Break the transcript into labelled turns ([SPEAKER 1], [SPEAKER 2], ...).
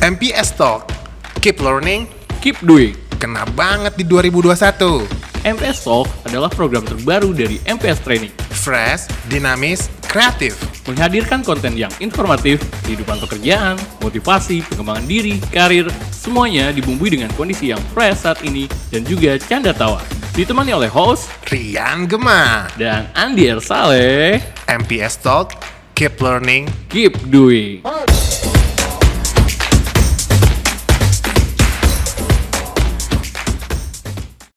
[SPEAKER 1] MPS Talk. Keep learning,
[SPEAKER 2] Keep doing.
[SPEAKER 1] kena banget di 2021.
[SPEAKER 2] MPS Talk adalah program terbaru dari MPS Training,
[SPEAKER 1] Fresh, dinamis, kreatif.
[SPEAKER 2] menghadirkan konten yang informatif, kehidupan pekerjaan, motivasi, pengembangan diri, karir, semuanya dibumbui dengan kondisi yang fresh saat ini dan juga canda tawa. Ditemani oleh host
[SPEAKER 1] Rian Gema.
[SPEAKER 2] dan Andi Ersaleh,
[SPEAKER 1] MPS Talk. Keep learning,
[SPEAKER 2] keep doing.
[SPEAKER 3] March.